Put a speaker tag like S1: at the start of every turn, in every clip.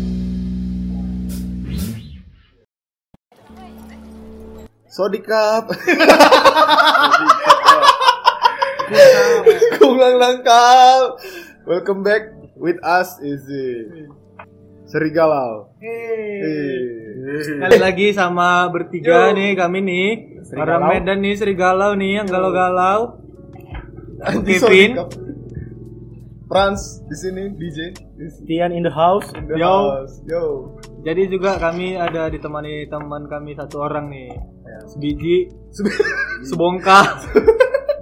S1: Sodikap. Kumlang lengkap. Welcome back with us Izzy. Serigalau.
S2: Sekali lagi sama bertiga nih kami nih Para
S1: Serigalau.
S2: Medan nih serigalau nih yang galau-galau Aku
S1: Anjing,
S2: Kevin
S1: Sodikap. Franz di sini DJ. Is
S3: Tian in the house.
S1: in the
S2: Yo.
S1: house. Yo.
S2: Jadi juga kami ada ditemani teman kami satu orang nih
S1: Ya.
S2: Sebiji Sebongkah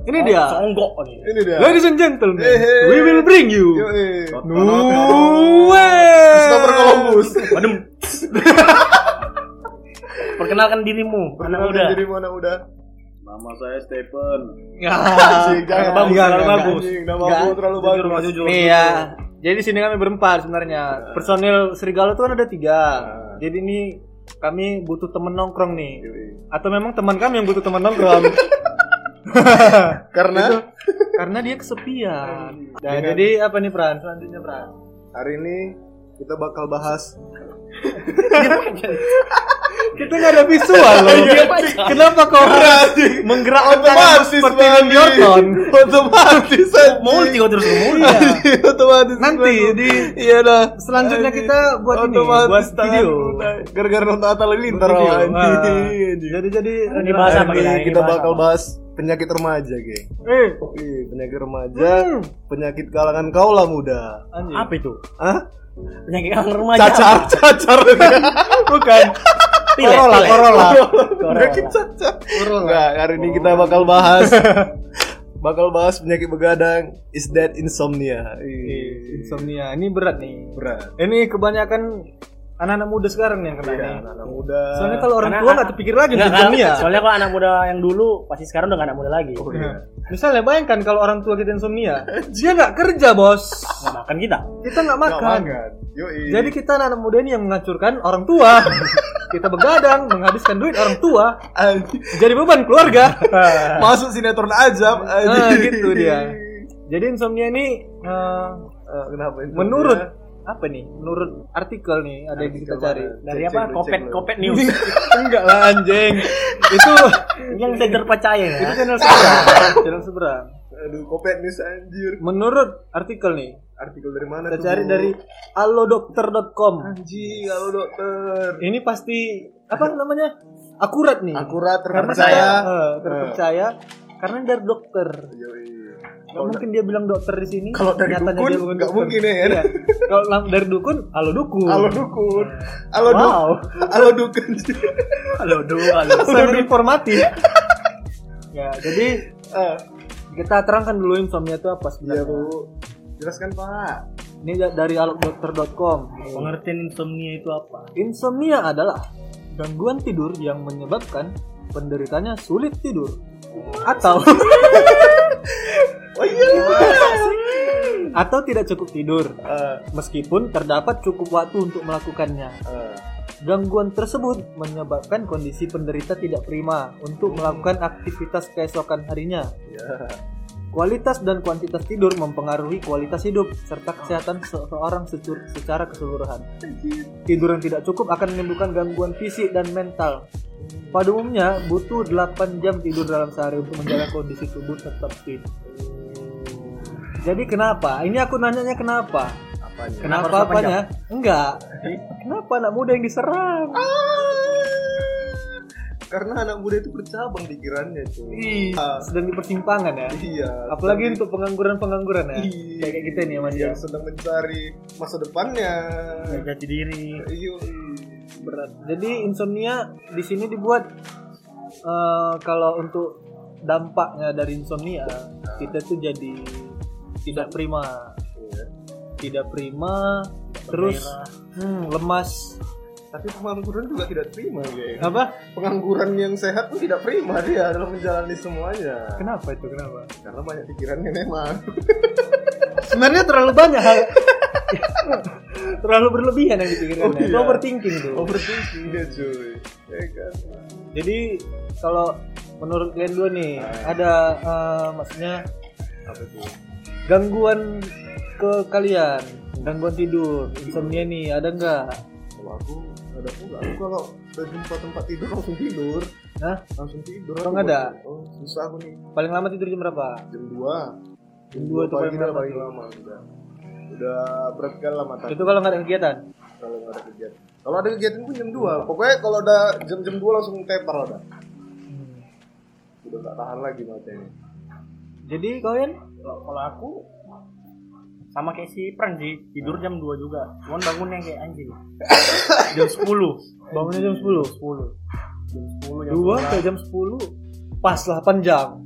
S2: Ini dia
S3: Songgok nih.
S1: Ini dia.
S2: Ladies and gentlemen
S1: Hey, hey.
S2: We will bring you
S1: Yo, eh.
S2: Nuwe
S1: Christopher Columbus.
S3: Badem. Perkenalkan dirimu, anak muda.
S1: Jadi mana udah?
S4: Nama saya Stephen.
S2: Ya.
S1: Anjing, jangan
S3: bagus,
S2: Enggak,
S3: terlalu
S2: enggak,
S3: bagus.
S2: enggak.
S1: Anjing, nama
S2: Enggak.
S1: aku terlalu
S3: Jujur,
S1: bagus.
S3: Mas, jujur.
S2: Nih ya. Jadi di sini kami berempat sebenarnya. Personil Serigala tuh kan ada tiga. Jadi ini kami butuh temen nongkrong nih. Atau memang teman kami yang butuh temen nongkrong.
S1: Karena
S2: Karena dia kesepian. Nah, jadi apa nih Pran? Selanjutnya Pran.
S1: hari ini kita bakal bahas
S2: Kita nggak ada visual loh. Iya, Kenapa kau menggerak otak
S1: Otomatis,
S2: seperti
S1: Bang.
S2: Randy Orton?
S1: otomatis anjing.
S3: Multi kau terus ngomong.
S2: Iya.
S1: Anjing, otomatis
S2: Nanti di
S1: iya dah
S2: selanjutnya
S1: Anjing.
S2: kita buat ini, buat
S1: otomatis tangan
S2: video.
S1: ku, nah. gara-gara nonton Atal Lintar
S2: Video. Ah.
S1: anjing.
S2: Wah.
S1: Anjing.
S2: Jadi jadi
S3: Ini bahasa apa
S1: Hari ini
S3: kita? Ini
S1: Iya, kita
S3: bahasa
S1: bakal
S3: apa?
S1: bahas penyakit remaja geng
S2: Eh,
S1: Ih, penyakit remaja
S2: Hmm.
S1: penyakit kalangan kaulah muda
S2: anjing.
S3: Apa itu?
S1: Hah?
S3: Penyakit kanker remaja.
S1: cacar cacar bukan
S3: Pilek,
S2: Corolla,
S3: pilek.
S2: Corolla.
S1: penyakit cacar Enggak, hari ini kita bakal bahas bakal bahas penyakit begadang is that insomnia.
S2: Ih,
S1: Ih,
S2: Insomnia. Ini berat nih.
S1: Berat.
S2: Ini kebanyakan anak-anak muda sekarang nih yang kena nih.
S1: Anak muda.
S2: Soalnya kalau orang tua
S3: Karena anak-
S2: Iya. nggak terpikir lagi
S3: Enggak
S2: untuk
S3: kan?
S2: insomnia.
S3: Soalnya kalau anak muda yang dulu pasti sekarang udah gak anak muda lagi.
S2: Oh,
S1: Iya.
S2: Misalnya bayangkan kalau orang tua kita insomnia, dia nggak kerja bos,
S3: Nggak makan kita.
S2: kita nggak
S1: Nggak
S2: makan.
S1: makan. Yoi.
S2: Jadi kita anak-anak muda ini yang menghancurkan orang tua. kita begadang, menghabiskan duit orang tua,
S1: Anjing,
S2: jadi beban keluarga.
S1: masuk sinetron aja.
S2: nah, Ah. gitu dia. Jadi insomnia ini eh, eh,
S1: Ah, Kenapa insomnia?
S2: menurut apa nih? Menurut artikel nih ada yang
S1: Artikel
S2: kita cari. Nah,
S1: mana?
S3: Dari
S1: Cek,
S3: apa?
S1: cek,
S3: Kopet,
S1: cek.
S3: kopet news.
S2: Enggak lah anjing. Itu
S3: Yang tidak terpercaya ya.
S2: itu channel seberang. channel seberang.
S1: Aduh, kopet news anjir.
S2: Menurut artikel nih,
S1: Artikel dari mana
S2: kita
S1: tuh,
S2: cari
S1: Bu?
S2: dari allodokter.com.
S1: anjing, halo dokter.
S2: Ini pasti apa namanya? Akurat nih.
S1: Akurat
S2: Karena
S1: terpercaya.
S2: kita, eh, terpercaya karena dari dokter.
S1: Yoi.
S2: Gak mungkin dia bilang dokter di sini.
S1: Kalau dari
S2: nyatanya
S1: dukun,
S2: dia bukan
S1: nggak
S2: dokter.
S1: mungkin ya, kan?
S2: Iya. Kalau lang- dari dukun, halo dukun.
S1: Halo dukun. Halo duk.
S2: Wow.
S1: Halo dukun.
S3: Halo, do, halo.
S2: Sangat informatif. ya, jadi
S1: Ah,
S2: kita terangkan dulu insomnia itu apa
S1: Iya,
S2: sebenarnya.
S1: Bu. Jelaskan, Pak.
S2: Ini da- dari
S1: Iya.
S2: allodokter.com.
S3: Pengertian insomnia itu apa?
S2: Insomnia adalah gangguan tidur yang menyebabkan penderitanya sulit tidur atau
S1: Oh iya.
S2: atau tidak cukup tidur
S1: Ah,
S2: meskipun terdapat cukup waktu untuk melakukannya.
S1: ah.
S2: Gangguan tersebut menyebabkan kondisi penderita tidak prima untuk melakukan aktivitas keesokan harinya.
S1: Iya.
S2: Kualitas dan kuantitas tidur mempengaruhi kualitas hidup serta kesehatan seseorang secur- secara keseluruhan. Tidur yang tidak cukup akan menimbulkan gangguan fisik dan mental. Pada umumnya, butuh 8 jam tidur dalam sehari untuk menjaga kondisi tubuh tetap fit. Jadi kenapa? Ini aku nanyanya kenapa?
S1: Apanya?
S2: Kenapa
S3: harus delapan
S2: apanya? Enggak. Kenapa anak muda yang diserang?
S1: Karena anak muda itu bercabang pikirannya cuy.
S2: Ih, sedang di persimpangan ya.
S1: Iya.
S2: Apalagi untuk pengangguran-pengangguran ya.
S1: Iya.
S2: Kayak kayak kita nih Mas ya.
S1: yang sedang mencari masa depannya.
S3: Jati diri.
S1: Iya.
S2: Berat. Jadi insomnia di sini dibuat eh, kalau untuk dampaknya dari insomnia kita tuh jadi tidak prima,
S1: Iya.
S2: tidak prima, terus hmm, lemas
S1: Tapi pengangguran juga tidak terima, geng.
S2: apa?
S1: Pengangguran yang sehat pun tidak terima dia dalam menjalani semuanya.
S2: Kenapa itu kenapa?
S1: Karena banyak pikirannya memang.
S2: Sebenarnya terlalu banyak hal terlalu berlebihan yang dipikirkan.
S1: Oh,
S2: ya. Itu
S1: iya.
S2: overthinking tuh.
S1: Overthinking dia Iya, cuy. Ya kan.
S2: Jadi kalau menurut kalian dua nih
S1: Ah.
S2: ada eh, maksudnya
S1: Apa tuh?
S2: gangguan ke kalian, gangguan tidur, insomnia nih ada nggak?
S1: aku ada aku nggak aku kalau ke tempat-tempat tidur langsung tidur
S2: Hah?
S1: langsung tidur
S2: Kok
S1: aku
S2: nggak ada?
S1: bangun. oh, susah aku nih
S2: Paling lama tidur jam berapa?
S1: jam 2
S2: Jam dua itu
S1: pagi
S2: paling
S1: udah
S2: lama
S1: paling
S2: tuh.
S1: lama udah udah berat sekali lah mata
S2: Itu kalau nggak ada kegiatan.
S1: kalau nggak ada kegiatan kalau ada kegiatan pun jam 2 pokoknya kalau udah jam-jam 2 langsung tepar lah dah
S2: Hmm.
S1: udah nggak tahan lagi matanya
S2: Jadi kalian
S3: Kalau kalau aku sama kayak si Pran sih, tidur jam 2 juga. Cuman bangunnya kayak anjing. jam 10.
S2: bangunnya jam 10.
S3: 10. Jam
S1: Oh,
S3: 10 jam
S2: Dua ke jam 10. Pas 8 jam.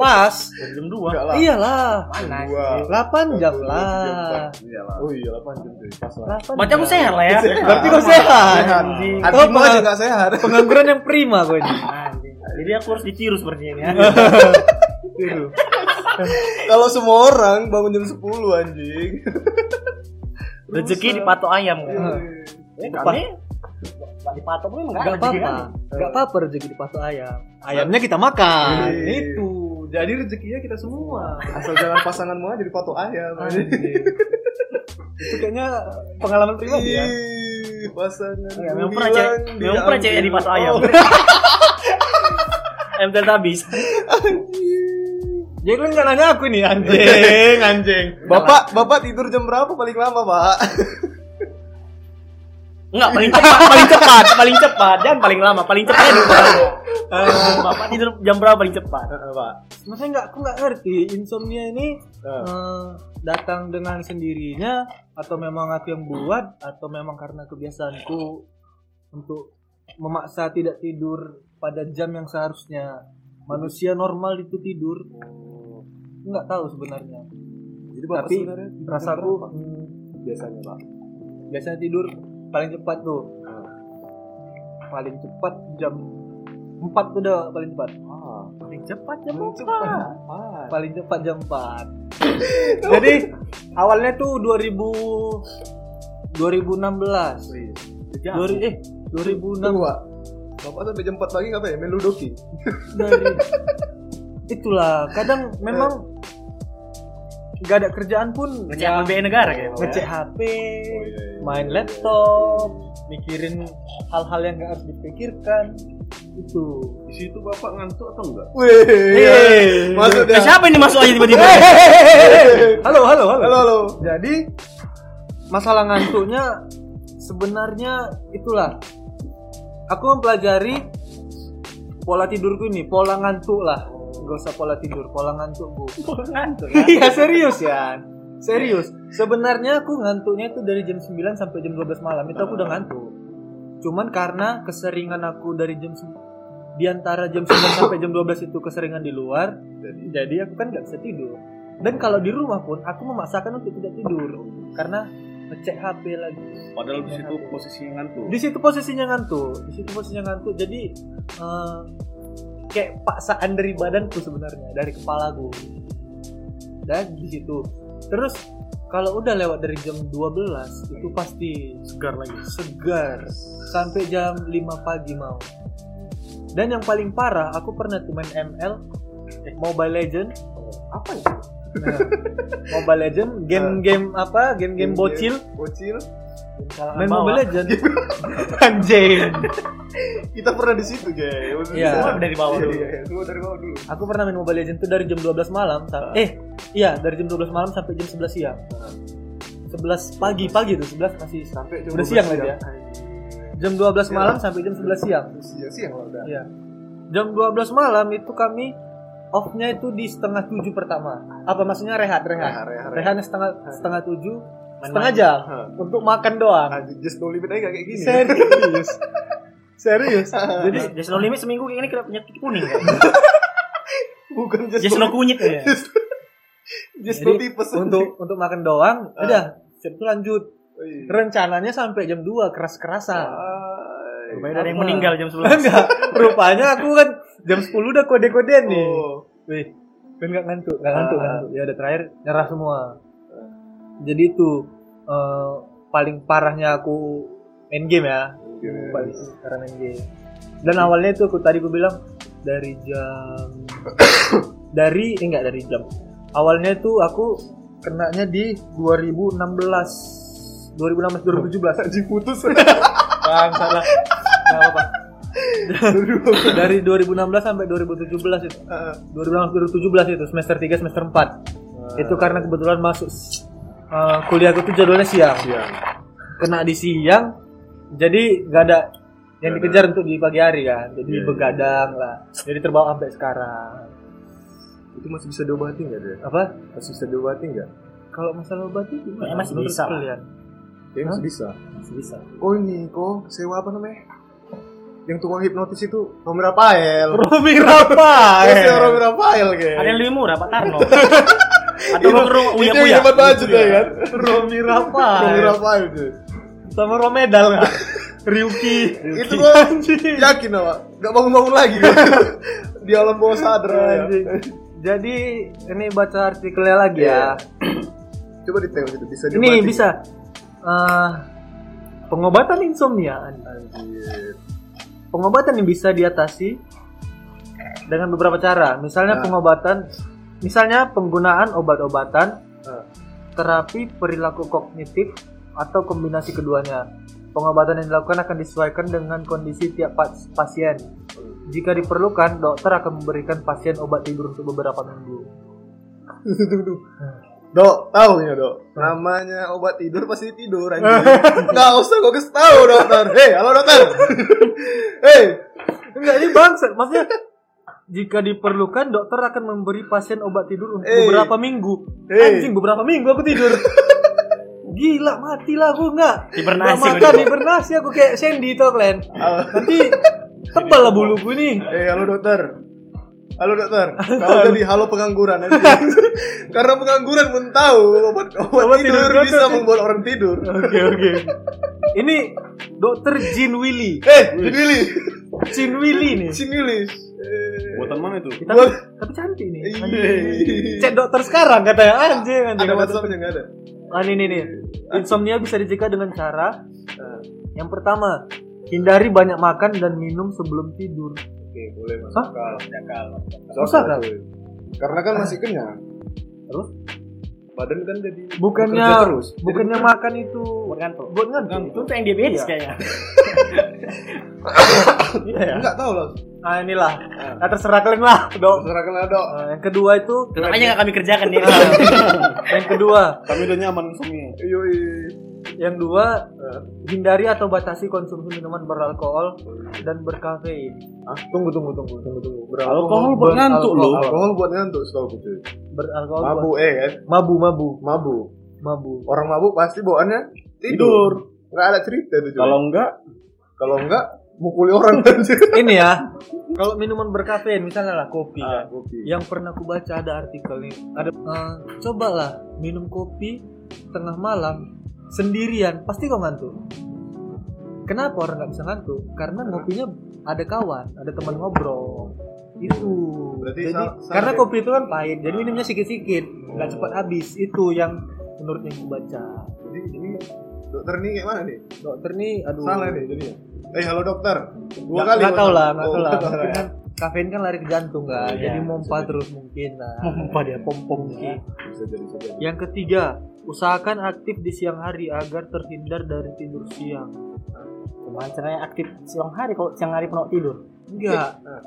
S2: Pas.
S3: 12, Jam 2.
S1: Enggak lah
S2: Iyalah.
S3: Mana?
S1: Jam 2
S2: 8 jam
S3: sih?
S1: Satu, jam
S2: lah.
S1: empat.
S4: Iya lah.
S1: oh iya 8 jam cuy pas lah
S2: 8
S3: Baca
S2: jam.
S3: gue sehat lah ya.
S2: Berarti kau sehat.
S1: Eh, Sehat.
S3: Anjing.
S1: hatimu
S2: Oh,
S1: aja
S2: pengalaman.
S1: nggak sehat
S2: Pengangguran yang prima gue ini.
S3: Anjing. Jadi aku harus dicirus sepertinya ini ya.
S2: Tidur.
S1: Kalau semua orang bangun jam 10 anjing.
S3: Rezeki dipatok ayam kan.
S1: Iya.
S3: Eh,
S2: Depan.
S3: kami nggak dipatok pun emang nggak
S2: Gak
S3: ada rezeki
S2: apa-apa.
S3: kan.
S2: Gak apa-apa rezeki di patok ayam. Ayamnya kita makan.
S1: Iya.
S2: Itu. Jadi rezekinya kita semua.
S1: Asal jangan pasanganmu aja jadi patok ayam. anjing.
S2: Itu kayaknya pengalaman pribadi ya.
S1: Ih, Iya. Pasangan.
S3: Ya, Memang pernah cewek, memang pernah cewek di patok ayam.
S1: Oh.
S3: Em dan habis.
S2: Jadi lu kan nggak nanya aku nih anjing, anjing.
S1: Bapak, bapak tidur jam berapa paling lama, Pak?
S3: Enggak paling cepat, paling cepat, paling cepat, jangan paling lama, paling cepat dulu. Eh, Bapak tidur jam berapa paling cepat?
S1: Pak.
S2: Maksudnya nggak, aku nggak ngerti insomnia ini eh, datang dengan sendirinya atau memang aku yang buat atau memang karena kebiasaanku untuk memaksa tidak tidur pada jam yang seharusnya manusia normal itu tidur nggak tahu sebenarnya
S1: Jadi
S2: tapi rasaku hmm,
S1: biasanya, Pak.
S2: biasanya tidur paling cepat tuh paling cepat jam 4 tuh udah paling cepat
S1: Ah,
S3: Paling cepat jam
S1: paling
S3: berapa?
S1: Pak.
S2: paling cepat jam 4 jadi awalnya tuh 2000 2016
S1: Serius.
S3: Jam.
S2: Dua, eh 2006
S1: Pak. Bapak sampai jam 4 pagi ngapain? Main ludoki.
S2: dari itulah kadang memang nggak ada kerjaan pun
S3: Ngecek
S2: ya,
S3: BBI negara gitu. kayaknya.
S2: ngecek HP
S1: iya, iya,
S2: main laptop mikirin hal-hal yang nggak harus dipikirkan itu
S4: Di situ bapak ngantuk atau enggak?
S3: Iya,
S1: Iya. Wih. Masuk
S3: Eh,
S1: dia.
S3: siapa ini masuk aja tiba-tiba?
S2: halo halo halo
S1: Halo, halo.
S2: Jadi masalah ngantuknya sebenarnya itulah. Aku mempelajari pola tidurku ini, pola ngantuk lah. Gak usah pola tidur, pola ngantukku.
S3: Ngantuk ya.
S2: Iya serius ya. Serius. Sebenarnya aku ngantuknya itu dari jam 9 sampai jam 12 malam. Itu aku udah ngantuk. Cuman karena keseringan aku dari jam sem- di antara jam 9 sampai jam 12 itu keseringan di luar, jadi, jadi aku kan nggak bisa tidur. Dan kalau di rumah pun aku memaksakan untuk tidak tidur karena ngecek HP lagi.
S4: Padahal di situ posisinya ngantuk.
S2: Di situ posisinya ngantuk, di situ posisinya ngantuk. Jadi eh, kayak paksaan dari badanku sebenarnya, dari kepalaku. Dan di situ. Terus kalau udah lewat dari jam 12 itu pasti
S3: Segar lagi.
S2: segar sampai jam 5 pagi mau. Dan yang paling parah, aku pernah tuh main ML, Mobile Legend.
S1: Apa itu?
S2: Nah, Mobile Legend,
S3: Nah.
S2: game-game apa? Game-game bocil.
S1: Iya, Bocil.
S2: Main
S3: bawah.
S2: Mobile Legend. Anjing.
S1: Kita pernah di situ, Jay.
S2: Iya.
S3: Semua dari bawah
S1: Iya,
S3: dulu.
S1: iya, Semua dari bawah dulu.
S2: Aku pernah main Mobile Legends itu dari jam 12 malam sam- eh iya dari jam 12 malam sampai jam 11 siang. 11 pagi pagi tuh 11 masih siang.
S1: Sampai
S2: Udah siang lagi ya. Jam 12
S1: Iya.
S2: malam sampai jam 11 siang.
S1: Siang siang lah udah.
S2: Iya. Jam 12 malam itu kami off-nya itu di setengah tujuh pertama. Apa maksudnya rehat, rehat.
S1: Rehat, rehat, rehat.
S2: Rehatnya setengah setengah tujuh,
S3: Main-main.
S2: setengah jam
S1: Hah.
S2: untuk makan doang.
S1: Anjing, Ah, just no limit aja kayak gini.
S2: Serius. Serius.
S3: Jadi Just No Limit seminggu kayak Nah, ini kena penyakit kuning kan.
S1: Bukan just,
S3: Just No Kunyit ya.
S1: just no
S2: Iya. Jadi
S1: tipes.
S2: untuk untuk makan doang, udah siap itu lanjut.
S1: Oh, iya.
S2: rencananya sampai jam 2
S1: Ah.
S2: keras-kerasan.
S1: Ay.
S2: Lumayan
S3: Ada yang
S2: lama.
S3: meninggal jam 11.
S2: Enggak, rupanya aku kan jam 10 udah kode-kodean nih.
S1: Oh.
S2: Wih, kan nggak ngantuk, nggak ngantuk,
S1: Ah.
S2: nggak ngantuk. Ya udah terakhir nyerah semua. Jadi itu eh, paling parahnya aku main game ya, paling parah main game. Dan awalnya itu aku tadi gue bilang dari jam dari eh, enggak dari jam. Awalnya itu aku kenanya di 2016 2016
S1: 2017 anjing putus.
S2: Bang, salah. Nggak apa-apa. Dari 2016 sampai 2017 itu. 2016 2017 itu semester 3 semester 4. Itu karena kebetulan masuk eh, kuliah aku tuh jadwalnya siang.
S1: Iya.
S2: Kena di siang. Jadi nggak ada yang dikejar untuk di pagi hari kan. Jadi begadang lah. Jadi terbawa sampai sekarang.
S1: Itu masih bisa diobati enggak, Dre?
S2: Apa?
S1: Masih bisa diobati enggak?
S2: Kalau masalah obat itu gimana?
S3: Kayaknya masih
S2: Menurut
S3: bisa lah.
S2: kalian?
S1: Kayaknya masih bisa.
S3: Masih bisa.
S1: Oh ini kok sewa apa namanya? Yang tukang hipnotis itu Romi Rafael.
S2: Romi Rafael.
S1: Iya, Romi Rafael kayak.
S3: Ada yang lebih murah Pak Tarno. Atau mau ke rumah Uya
S1: Itu
S3: Uya.
S1: yang hebat banget juga kan.
S2: Iya, Romi
S1: Romi
S2: Rafael.
S1: Rafael tuh.
S2: Sama Romedal nggak? Ryuki.
S1: Itu gua yakin apa? Gak bangun-bangun lagi. gua. Di alam bawah sadar. ya.
S2: Anjing. Jadi ini baca artikelnya lagi ya.
S1: Coba detail itu bisa
S2: Ini
S1: diobati.
S2: bisa eh, pengobatan insomnia. Anda.
S1: Anjir.
S2: Pengobatan yang bisa diatasi dengan beberapa cara.
S1: Nah.
S2: Misalnya pengobatan, misalnya penggunaan obat-obatan
S1: Ah.
S2: terapi perilaku kognitif atau kombinasi keduanya. Pengobatan yang dilakukan akan disesuaikan dengan kondisi tiap pas- pasien. Jika diperlukan, dokter akan memberikan pasien obat tidur untuk beberapa minggu.
S1: Tunggu, tunggu, tunggu. Dok, tahu ya dok. Namanya obat tidur pasti tidur anjing. Enggak usah kok kasih tahu dokter. Hei, halo dokter. Hei,
S2: Enggak ini bangsat, maksudnya jika diperlukan dokter akan memberi pasien obat tidur untuk
S1: Eh.
S2: beberapa minggu.
S1: Eh.
S2: Anjing beberapa minggu aku tidur. Gila matilah aku enggak.
S3: Hibernasi
S2: Nggak
S3: kau
S2: makan
S3: ini.
S2: hibernasi aku kayak Sandy tau kalian. Nanti tebal lah bulu gue nih.
S1: hei, halo dokter. Halo dokter. Kau jadi halo pengangguran anjing. Karena pengangguran pun tahu obat obat, tidur,
S2: tidur,
S1: bisa
S2: dokter.
S1: membuat orang tidur.
S2: Oke oke. Ini Dokter Jin Willy.
S1: Eh, Willy,
S2: Jin Willy nih.
S1: sini Willy.
S4: Buatan mana itu?
S2: Tapi, tapi cantik nih. Cek dokter sekarang katanya anjing anjing.
S1: Iya. Ada WhatsAppnya nggak ada?
S2: Ah, ini nih nih. Insomnia bisa dicegah dengan cara eh, yang pertama, hindari banyak makan dan minum sebelum tidur.
S1: Oke, boleh mas.
S2: Hah?
S1: Kalau
S3: Kalau
S2: Usah kan?
S1: Karena kan masih kenyang.
S2: Terus?
S1: Badan kan jadi
S2: Bukannya
S1: bekerja terus.
S2: bukannya makan itu
S3: buat ngantuk.
S2: buat
S3: Itu
S2: ngantuk.
S3: tuh yang diabetes
S2: Iya.
S3: kayaknya.
S2: Iya ya.
S1: Enggak tahu lah.
S2: Nah, inilah.
S1: Ah.
S2: Nah, terserah kalian lah, dok.
S1: Terserah kalian dok.
S2: Eh, yang kedua itu Ah.
S3: Makanya nggak kami kerjakan dia.
S4: Iya.
S2: yang kedua,
S4: Kami udah nyaman insomnia.
S1: Yoi.
S2: yang dua eh, hindari atau batasi konsumsi minuman beralkohol dan berkafein.
S1: Ah, tunggu tunggu tunggu tunggu tunggu.
S4: Alkohol buat ngantuk
S2: alkohol.
S4: loh.
S1: Alkohol buat ngantuk setahu aku cuy.
S2: Beralkohol.
S1: Mabu eh kan?
S2: Mabu, mabu,
S1: Mabu.
S2: mabu.
S1: Orang mabuk pasti bawaannya tidur. Enggak ada cerita itu cuy.
S4: Kalau enggak,
S1: kalau enggak mukuli orang kan, anjir.
S2: ini ya kalau minuman berkafein misalnya lah kopi kan.
S1: kopi.
S2: yang pernah aku baca ada artikel nih ada eh, cobalah minum kopi tengah malam sendirian pasti kau ngantuk kenapa orang nggak bisa ngantuk karena ngopinya ada kawan ada teman ngobrol itu
S1: Berarti
S2: jadi
S1: sa- sa-
S2: karena kopi itu kan pahit jadi minumnya sikit-sikit nggak cepat habis itu yang menurut yang aku baca
S1: Jadi ini dokter ini kayak mana nih?
S2: dokter nih aduh
S1: Salah nih jadinya. Eh halo dokter. Dua
S2: Nggak-
S1: kali.
S2: nggak tahu lah nggak
S1: Oh,
S2: tahu lah
S1: nggak tahu
S2: Mungkin
S1: ya.
S2: kan kafein kan lari ke jantung kan
S3: Iya,
S2: jadi mompa terus mungkin lah
S3: Mompa dia, gitu.
S2: pom-pom
S3: Iya.
S2: mungkin.
S1: Bisa jadi bisa jadi.
S2: yang ketiga usahakan aktif di siang hari agar terhindar dari tidur siang
S3: Gimana caranya aktif siang hari kalau siang hari penuh tidur?
S2: enggak
S1: Eh, Iya.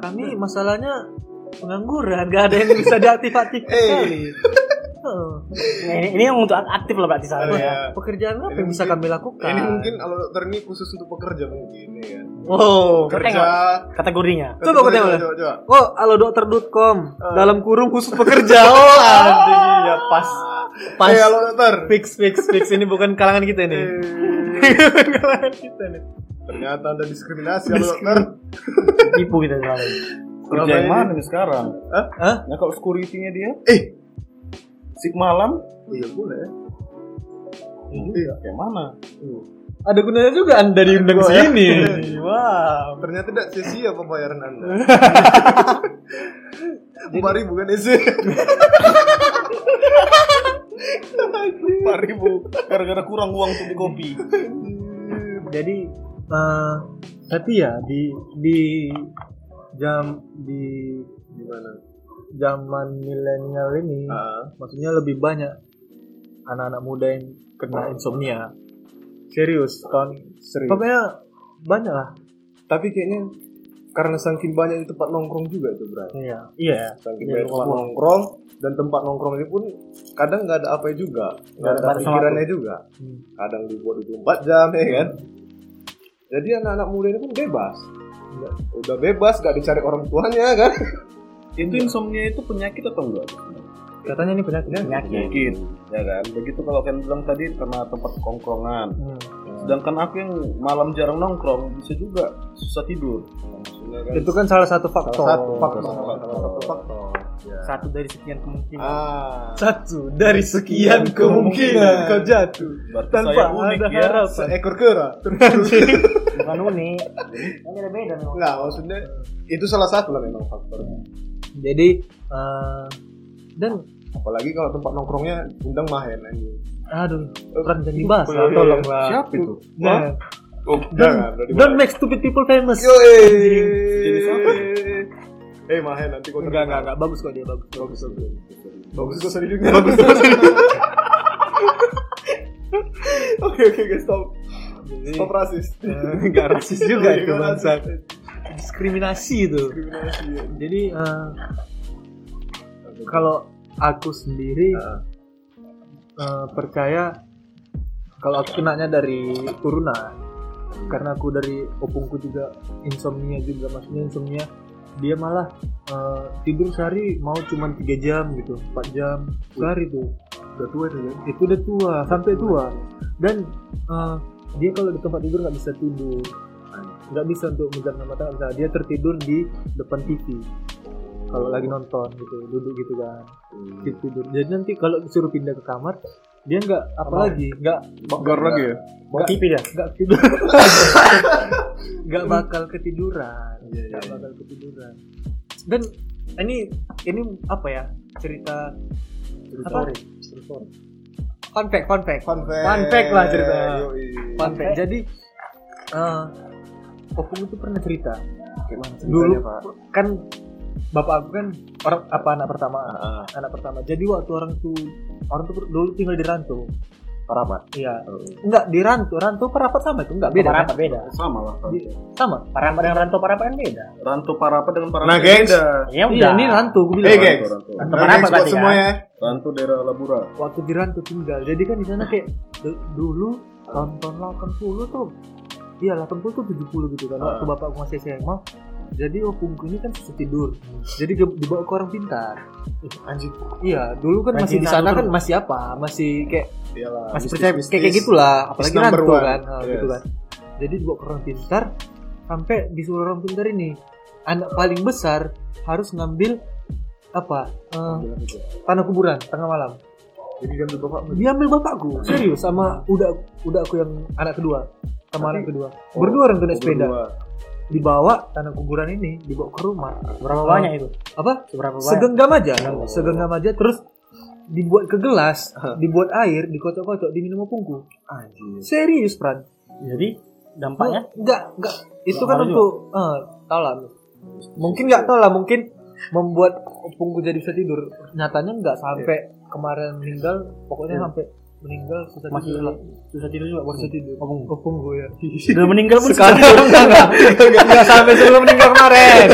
S2: kami masalahnya pengangguran nggak ada yang bisa diaktif-aktif
S1: Eh.
S2: sekali Heeh.
S3: Nah, ini, ini yang untuk aktif lah berarti
S1: Oh,
S3: salah.
S1: iya.
S2: pekerjaan
S1: Ini
S2: apa yang bisa
S1: mungkin-
S2: kami lakukan
S1: eh, Ini mungkin kalau dokter ini khusus untuk pekerja mungkin ya kan.
S2: Kan. oh
S1: Kerja.
S3: Kategorinya.
S2: Coba aku tengok.
S1: Coba, coba.
S2: oh alodokter.com
S1: Oh.
S2: dalam kurung khusus pekerja oh anjing ya pas pas
S1: Eh, halo dokter.
S2: fix fix fix ini bukan kalangan kita ini
S1: Eh, ya. Ternyata ada diskriminasi halo dokter.
S3: Tipu kita selalu.
S1: Selama
S4: kerja yang
S1: ini-
S4: mana nih sekarang?
S2: Hah?
S4: Nah kalau security-nya dia,
S1: Eh,
S4: sik malam,
S1: oh iya boleh. ya. Hmm.
S4: iya. Yang mana?
S2: Ada gunanya juga Anda diundang
S1: Gua, ya.
S2: sini.
S1: Wow, ternyata tidak sia-sia pembayaran Anda. Empat ribu kan isi.
S4: Empat ribu. Gara-gara kurang uang untuk di kopi.
S2: Jadi eh, tapi ya di di jam di
S1: Gimana?
S2: zaman milenial ini
S1: Ah,
S2: maksudnya lebih banyak anak-anak muda yang kena insomnia. Serius, kan?
S1: Serius.
S2: Pokoknya banyak lah.
S1: Tapi kayaknya karena saking banyak di tempat nongkrong juga itu berarti.
S2: Iya. Iya.
S1: Saking
S2: Iya,
S1: banyak tempat
S2: semua.
S1: nongkrong dan tempat nongkrong ini pun kadang nggak ada apa juga, nggak ada
S2: Nggak ada
S1: pikirannya juga.
S2: Hmm.
S1: Kadang dibuat 24 jam ya kan. Jadi anak-anak muda ini pun bebas. Iya.
S2: Nggak.
S1: Udah bebas, gak dicari orang tuanya kan.
S4: Itu insomnia itu penyakit atau enggak?
S2: Katanya ini penyakit.
S4: Penyakit, ya kan? Begitu kalau kalian bilang tadi karena tempat kongkrongan.
S2: Hmm.
S4: Sedangkan aku yang malam jarang nongkrong bisa juga susah tidur. Maksudnya kan,
S2: Itu kan salah satu faktor.
S1: Iya, Salah satu faktor.
S4: Salah satu
S1: Salah satu faktor. Ya.
S3: satu dari sekian kemungkinan
S1: Ah.
S2: Satu dari sekian kemungkinan kau jatuh
S4: berarti
S2: tanpa
S4: saya unik
S2: ada
S4: ya.
S2: harapan.
S1: Seekor kera.
S3: bukan unik ini ada beda memang
S1: Enggak, maksudnya itu salah satu lah memang faktornya.
S2: Jadi eh, dan
S1: Apalagi kalau tempat nongkrongnya undang mahen aja.
S2: aduh orang jangan dibahas lah, tolonglah.
S4: Siapa itu?
S2: Jangan.
S4: Oh,
S1: Jangan, udah dibahas.
S2: Don't Nah, make stupid people famous.
S1: Jadi siapa? Eh mahen nanti kau
S2: Enggak,
S1: terkenal.
S2: enggak, enggak. Bagus kok dia, bagus.
S1: Bagus bagus. Bagus kau sering dengar. Bagus kau sering Oke oke guys stop. Stop rasis.
S2: Enggak rasis Eh, juga itu
S1: Enggak rasis.
S2: bangsa. Diskriminasi itu.
S1: Diskriminasi. ya.
S2: Jadi eh, kalau aku sendiri
S1: Ah.
S2: eh, percaya kalau aku kenanya dari turunan karena aku dari opungku juga insomnia juga maksudnya insomnia dia malah eh, tidur sehari mau cuma 3 jam gitu 4 jam sehari tuh udah tua itu kan? itu udah tua sampai tua dan eh, dia kalau di tempat tidur nggak bisa tidur nggak bisa untuk menjamkan mata nggak bisa. Nah, dia tertidur di depan TV kalau lagi nonton gitu duduk gitu kan Dia tidur jadi nanti kalau disuruh pindah ke kamar dia nggak apa lagi nggak
S1: Bakar lagi ya.
S2: nggak-
S3: TV ya
S2: nggak tidur nggak bakal ketiduran
S1: Iya, iya,
S2: nggak
S1: iya.
S2: bakal ketiduran dan ini ini apa ya cerita apa fun fact fun fact
S1: Fun fact.
S2: Fun fact lah ceritanya.
S1: Yoi.
S2: Fun fact. Jadi eh opung itu pernah cerita.
S1: Dulu
S2: Dulu kan bapak aku kan orang apa anak pertama,
S4: Eh,
S2: anak pertama. Jadi waktu orang tuh orang tuh dulu tinggal di rantau.
S1: Parapat.
S2: Iya. Enggak di rantau, rantau perapat sama itu enggak beda.
S3: parapa
S2: kan?
S3: beda
S4: sama lah.
S2: Di- sama.
S3: parapa dengan rantau parapa kan beda
S4: Rantau parapa dengan parapa
S1: Nah, gengs.
S4: beda.
S3: ya
S2: Iya, ini rantau gue bilang.
S1: Hey, gengs.
S4: Rantau,
S3: Rantau
S1: Nah,
S3: parapa
S1: Eh, guys, buat
S3: berarti
S1: semua
S3: kan
S1: ya.
S4: Rantau daerah Labura.
S2: Waktu di rantau tinggal. Jadi kan di sana kayak du- dulu tahun-tahun 80 tuh Iya, 80 tuh 70 gitu kan.
S1: Ah.
S2: Waktu bapak aku masih SMA. Jadi opungku ini kan susah tidur. Jadi ke- dibawa ke orang pintar.
S1: Anjir.
S2: Iya, dulu kan masih di
S3: Rajin
S2: sana
S3: ngatur.
S2: kan masih apa? Masih kayak
S1: Iyalah.
S2: masih
S1: bisnis-
S2: percaya kayak gitu
S1: bisnis.
S2: kayak gitulah, apalagi
S1: number
S2: rantau
S1: one.
S2: kan, nah,
S1: Yes.
S2: gitu kan. Jadi dibawa ke orang pintar sampai disuruh orang pintar ini anak paling besar harus ngambil apa eh, tanah kuburan tengah malam.
S1: Jadi diambil bapakmu.
S2: Dia ambil bapakku serius sama udah udah aku yang anak kedua sama anak kedua berdua orang kena sepeda
S1: Oh, Berdua.
S2: dibawa tanah kuburan ini dibawa ke rumah
S3: berapa banyak itu
S2: apa
S3: berapa banyak
S2: segenggam aja
S1: Oh.
S2: segenggam aja terus dibuat ke gelas dibuat air dikocok-kocok diminum opungku
S1: Anjir.
S2: serius pran
S3: jadi dampaknya
S2: enggak enggak itu
S3: Nggak
S2: kan
S3: ngaruh
S2: untuk eh, tau lah mungkin nggak tau lah mungkin membuat opungku jadi bisa tidur nyatanya nggak sampai kemarin meninggal pokoknya
S3: Iya.
S2: sampai meninggal susah
S3: masih
S2: tidur lah
S3: susah tidur juga
S4: Hmm.
S2: susah tidur
S3: Opungku.
S2: opungku ya
S3: udah meninggal pun
S2: sekarang enggak enggak enggak, enggak sampai sebelum meninggal kemarin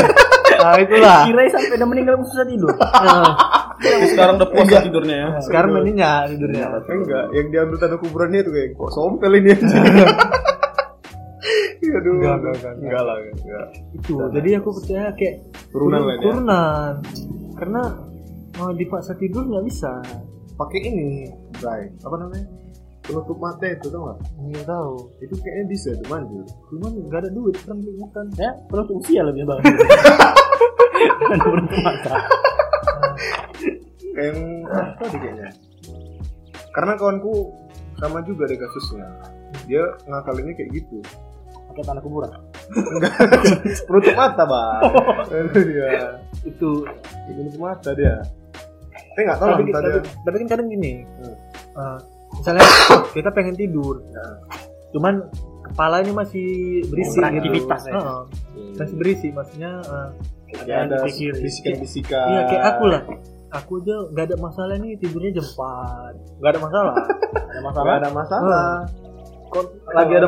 S2: nah itulah
S3: kira sampai udah meninggal pun susah tidur
S2: Nah,
S4: Berarti sekarang udah puasa tidurnya ya.
S2: sekarang meninggal tidurnya
S1: Iya, Enggak, yang diambil tanah kuburannya itu kayak kok sompel ini Iya, aja. Aduh.
S2: Enggak, enggak, enggak.
S1: Enggak lah, enggak.
S2: itu jadi aku percaya kayak
S1: Turunan lah dia.
S2: turunan karena mau dipaksa tidur nggak bisa
S1: Pakai ini, Bray. Apa namanya? Penutup mata itu tau gak?
S2: nggak tahu
S1: Itu kayaknya bisa tuh gitu. manjur.
S2: cuman nggak ada duit kan beli makan
S3: ya perlu tuh usia lebih bang Bukan penutup mata.
S1: Kayak yang apa deh kayaknya. Karena kawanku sama juga deh kasusnya. Dia ngakalinnya kayak gitu.
S3: pakai tanah kuburan
S1: Penutup mata, Bang. Aduh, dia.
S2: itu
S1: Penutup mata dia. Saya nggak tahu lah ya.
S2: tapi,
S1: entah
S2: tapi,
S1: dia.
S2: Ah, tapi kan kadang gini
S1: Hmm.
S2: eh, misalnya kita pengen tidur
S1: Nah,
S2: cuman kepala ini masih berisi
S3: Beraktivitas
S2: gitu.
S3: ya.
S2: Heeh, masih berisi maksudnya eh,
S1: kayak
S3: yang
S1: ada
S3: dipikirin.
S1: bisikan-bisikan.
S2: iya kayak aku lah aku aja nggak ada masalah nih tidurnya jam 4 nggak ada masalah Eh,
S3: ada
S1: Gak
S3: masalah
S1: ada masalah.
S2: Kok lagi ada
S1: ada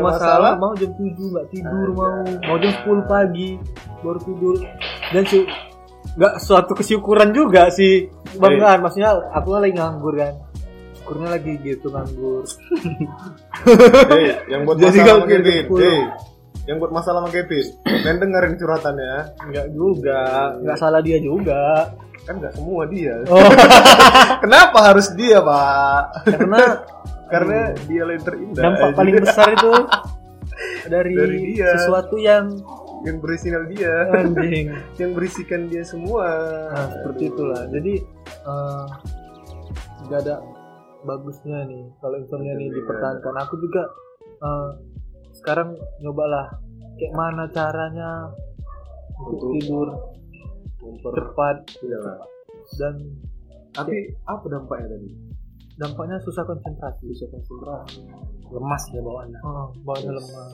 S1: masalah?
S2: masalah, mau jam 7 nggak tidur mau mau jam 10 pagi baru tidur dan sih nggak suatu kesyukuran juga sih bang
S1: Iya.
S2: An. maksudnya aku kan lagi nganggur kan syukurnya lagi gitu nganggur
S1: Hei, yang buat
S2: Jadi
S1: masalah
S2: gitu.
S1: sama
S2: gak mungkin
S1: Kevin.
S2: sepuluh.
S1: Hei, yang buat masalah sama Kevin. Men dengerin curhatannya.
S2: nggak juga nggak salah dia juga
S1: Kan nggak semua dia.
S2: oh
S1: Kenapa harus dia, Pak?
S2: Ya, karena
S1: Karena dia yang terindah.
S2: Hmm. dampak
S1: Jadi
S2: paling besar itu dari,
S1: Dari dia.
S2: sesuatu yang
S1: yang berisikan dia,
S2: anjing
S1: yang berisikan dia semua.
S2: Kan. nah, seperti itulah jadi eh, nggak ada bagusnya nih kalau insomnia nih dipertahankan aku juga eh, sekarang nyobalah kayak mana caranya untuk tidur cepat
S1: Iya lah.
S2: dan
S1: Tapi apa dampaknya tadi?
S2: dampaknya susah konsentrasi susah konsentrasi
S3: lemas dia bawaannya
S2: oh, bawaannya lemas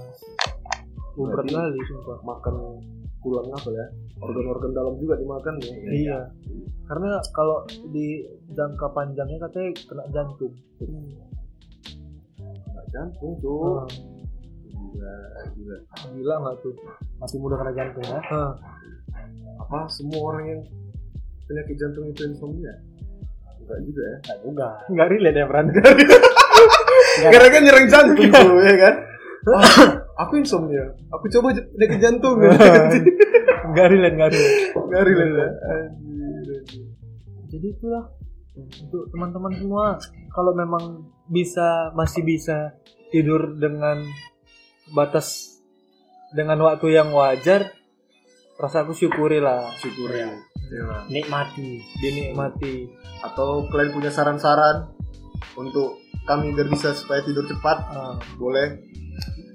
S2: Oh, berat
S1: Berarti-
S2: kali sumpah
S1: Makan tulang apa ya? Organ-organ dalam juga dimakan ya.
S2: Iya. Karena kalau di jangka panjangnya katanya kena jantung.
S1: Nggak Jantung, tuh.
S2: Oh,
S1: Gila, gila.
S2: gila nggak tuh?
S3: masih muda kena jantung ya
S2: Hah,
S1: Apa semua orang yang penyakit jantung itu insomnia? Enggak juga ya.
S3: nggak juga
S2: Nggak relate ya Fran?
S1: Gara-gara kan nyerang jantung tuh, ya kan? Ah, aku insomnia. Aku coba j- penyakit jantung. Gak
S2: Nggak relate, nggak relate.
S1: relate ya.
S2: Jadi itulah untuk teman-teman semua kalau memang bisa masih bisa tidur dengan batas dengan waktu yang wajar rasa aku syukurilah
S1: Syukur ya. Iya.
S3: nikmati
S2: dinikmati
S1: Atau kalian punya saran-saran untuk kami biar bisa supaya tidur cepat?
S2: Ah,
S1: Boleh.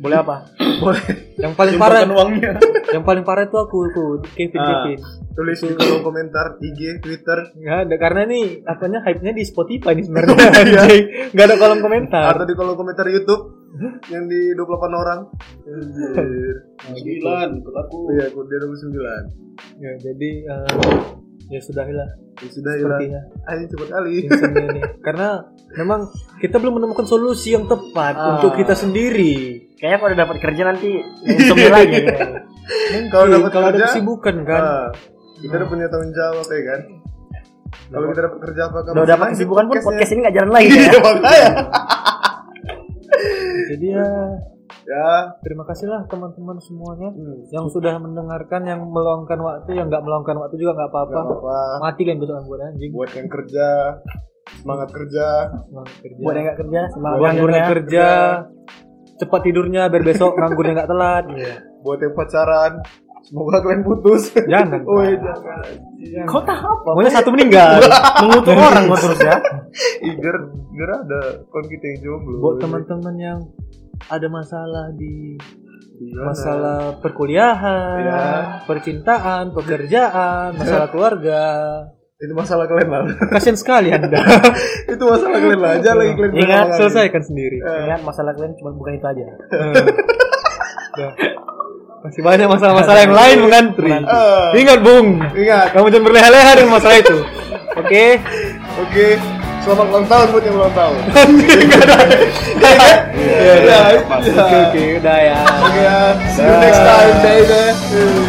S3: boleh apa
S1: Boleh.
S2: yang paling parah yang paling parah itu aku tuh Kevin
S1: Ah.
S2: Kevin
S1: Tulis di kolom komentar IG, Twitter,
S2: Nggak ada karena nih apanya hype-nya di Spotify nih sebenarnya. Anjing. Nggak Iya. ada kolom komentar.
S1: atau di kolom komentar YouTube yang di 28 orang. Anjir.
S4: Sembilan, ikut aku.
S1: Iya, aku dia 29.
S2: Ya, jadi eh, ya sudahlah
S1: Ya sudah hilang.
S2: sepertinya
S1: Ayo cepet kali.
S2: insomnia nih. Karena memang kita belum menemukan solusi yang tepat
S1: Ah.
S2: untuk kita sendiri.
S3: kayaknya kalau dapat kerja nanti insomnia lagi Iya.
S2: Mungkin
S1: Kalau dapat
S2: Iya, kalau ada
S1: kerja,
S2: kesibukan kan.
S1: Ah, kita udah punya tanggung jawab ya kan. Kalau kita dapat kerja apa kamu?
S3: udah dapat kesibukan pun podcast ini nggak jalan lagi ya
S1: Iya, makanya.
S2: Jadi ya
S1: Ya,
S2: terima kasihlah teman-teman semuanya
S1: Hmm.
S2: yang sudah mendengarkan yang meluangkan waktu yang nggak meluangkan waktu juga nggak
S1: nggak
S2: apa-apa.
S1: apa-apa.
S2: Mati kan besok gue anjing.
S1: Buat yang kerja, semangat kerja.
S2: Semangat kerja.
S3: buat yang nggak kerja semangat ya,
S2: buat yang
S3: nganggurnya
S1: ya.
S2: nggak kerja cepat tidurnya biar besok nganggurnya nggak telat
S1: Iya.
S2: Ya.
S1: Buat yang pacaran, semoga kalian putus.
S2: Jangan.
S1: Woi, jangan. Iya.
S3: kau tahu apa
S2: maunya satu meninggal
S3: mengutuk orang kau terus ya
S1: Iger, iger ada kon kita yang jomblo.
S2: buat teman-teman yang ada masalah di
S1: Gimana?
S2: masalah perkuliahan,
S1: Iya.
S2: percintaan, pekerjaan, masalah keluarga.
S1: itu masalah kalian lah.
S2: Kasian sekali Anda.
S1: itu masalah kalian lah. Aja lagi Iya. kalian
S2: Ingat
S1: berangkat.
S2: selesaikan sendiri.
S3: ingat masalah kalian cuma bukan itu aja
S2: Dah. Iya. Masih banyak masalah-masalah yang lain mengantri.
S1: Ah.
S2: Ingat Bung,
S1: Ingat.
S2: kamu jangan berleha-leha dengan masalah itu.
S1: Iya,
S2: Oke.
S1: Oke. Selamat ulang tahun buat yang ulang tahun.
S2: Anjing, nggak ada.
S1: Iya,
S2: Oke,
S1: iya. ya.
S2: oke, udah ya.
S1: Okay, uh, see you next time, baby.